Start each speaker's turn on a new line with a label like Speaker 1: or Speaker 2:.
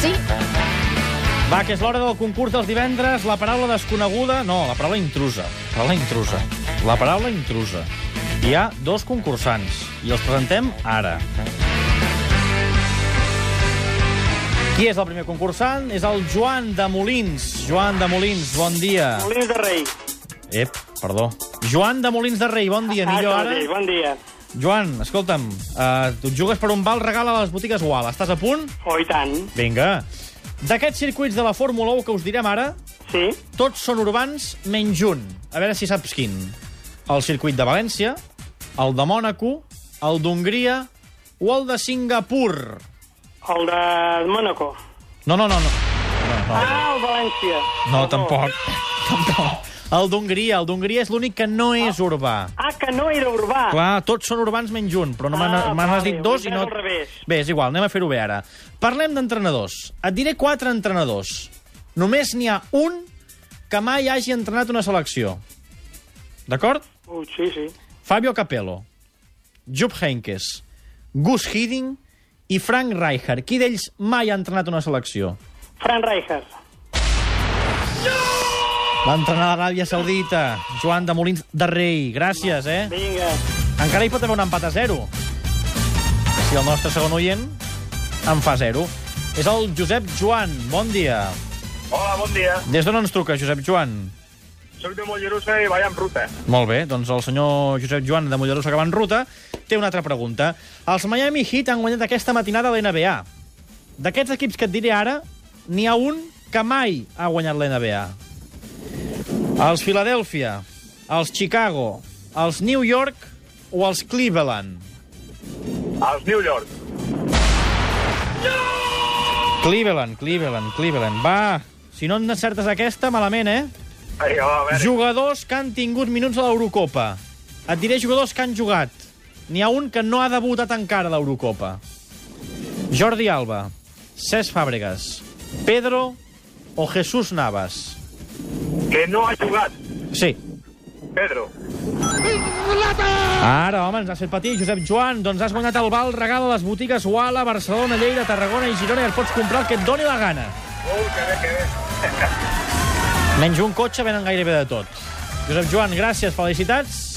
Speaker 1: Sí,
Speaker 2: Va, que és l'hora del concurs dels divendres. La paraula desconeguda... No, la paraula intrusa. La paraula intrusa. La paraula intrusa. Hi ha dos concursants i els presentem ara. Qui és el primer concursant? És el Joan de Molins. Joan de Molins, bon dia.
Speaker 3: Molins de Rei.
Speaker 2: Ep, perdó. Joan de Molins de Rei, bon dia, millor
Speaker 3: Ah,
Speaker 2: ara.
Speaker 3: Sabadell, Bon dia.
Speaker 2: Joan, escolta'm, eh, tu et jugues per un val regal a les botigues Wal. Estàs a punt?
Speaker 3: Oh, i tant.
Speaker 2: Vinga. D'aquests circuits de la Fórmula 1 que us direm ara,
Speaker 3: Sí,
Speaker 2: tots són urbans menys un. A veure si saps quin. El circuit de València, el de Mònaco, el d'Hongria o el de Singapur.
Speaker 3: el de Mónaco.
Speaker 2: No, no, no, no. No, no,
Speaker 3: Ah, el València.
Speaker 2: no tampoc. Tampoc. El d'Hongria. El d'Hongria és l'únic que no és urbà.
Speaker 3: Ah, que no era urbà.
Speaker 2: Clar, tots són urbans menys un, però no m'han-
Speaker 3: Ah,
Speaker 2: m'han
Speaker 3: vale,
Speaker 2: dit dos
Speaker 3: ho he
Speaker 2: i no...
Speaker 3: entès al revés.
Speaker 2: Bé, és igual, anem a fer-ho bé ara. Parlem d'entrenadors. Et diré quatre entrenadors. Només n'hi ha un que mai hagi entrenat una selecció. D'acord?
Speaker 3: Ui, Uh, sí, sí.
Speaker 2: Fabio Capello, Jupp Heynckes, Gus Hiddink i Frank Rijkaard. Qui d'ells mai ha entrenat una selecció?
Speaker 3: Fran Rijkaard.
Speaker 2: L'entrenador de l'Aràbia Saudita, Joan de Molins de Rei. Gràcies, eh?
Speaker 3: Vinga.
Speaker 2: Encara hi pot haver un empat a zero. Si el nostre segon oient en fa zero. És el Josep Joan. Bon dia.
Speaker 4: Hola, bon dia.
Speaker 2: Des d'on ens truca, Josep Joan?
Speaker 4: Soc de Mollerussa i vaig amb ruta.
Speaker 2: Molt bé, doncs el senyor Josep Joan de Mollerussa que va en ruta té una altra pregunta. Els Miami Heat han guanyat aquesta matinada l'NBA. D'aquests equips que et diré ara, n'hi ha un que mai ha guanyat l'NBA. Els Philadelphia, els Chicago, els New York o els Cleveland.
Speaker 4: Als New York.
Speaker 2: Cleveland, Cleveland, Cleveland. Va, si no en certes aquesta, malament, eh?
Speaker 4: Ai, va, a veure.
Speaker 2: Jugadors que han tingut minuts a l'Eurocopa. Et diré jugadors que han jugat. N'hi ha un que no ha debutat encara a l'Eurocopa. Jordi Alba, Cesc Fàbregas, Pedro o Jesús Navas.
Speaker 4: Que no ha jugat,
Speaker 2: Sí.
Speaker 4: Pedro.
Speaker 2: Ara, home, ens has fet patir, Josep Joan. Doncs has guanyat el val regal a les botigues Wala, Barcelona, Lleida, Tarragona i Girona i et pots comprar el que et doni la gana.
Speaker 4: Oh, que bé, que bé.
Speaker 2: Menys un cotxe, venen gairebé de tot. Josep Joan, gràcies, felicitats.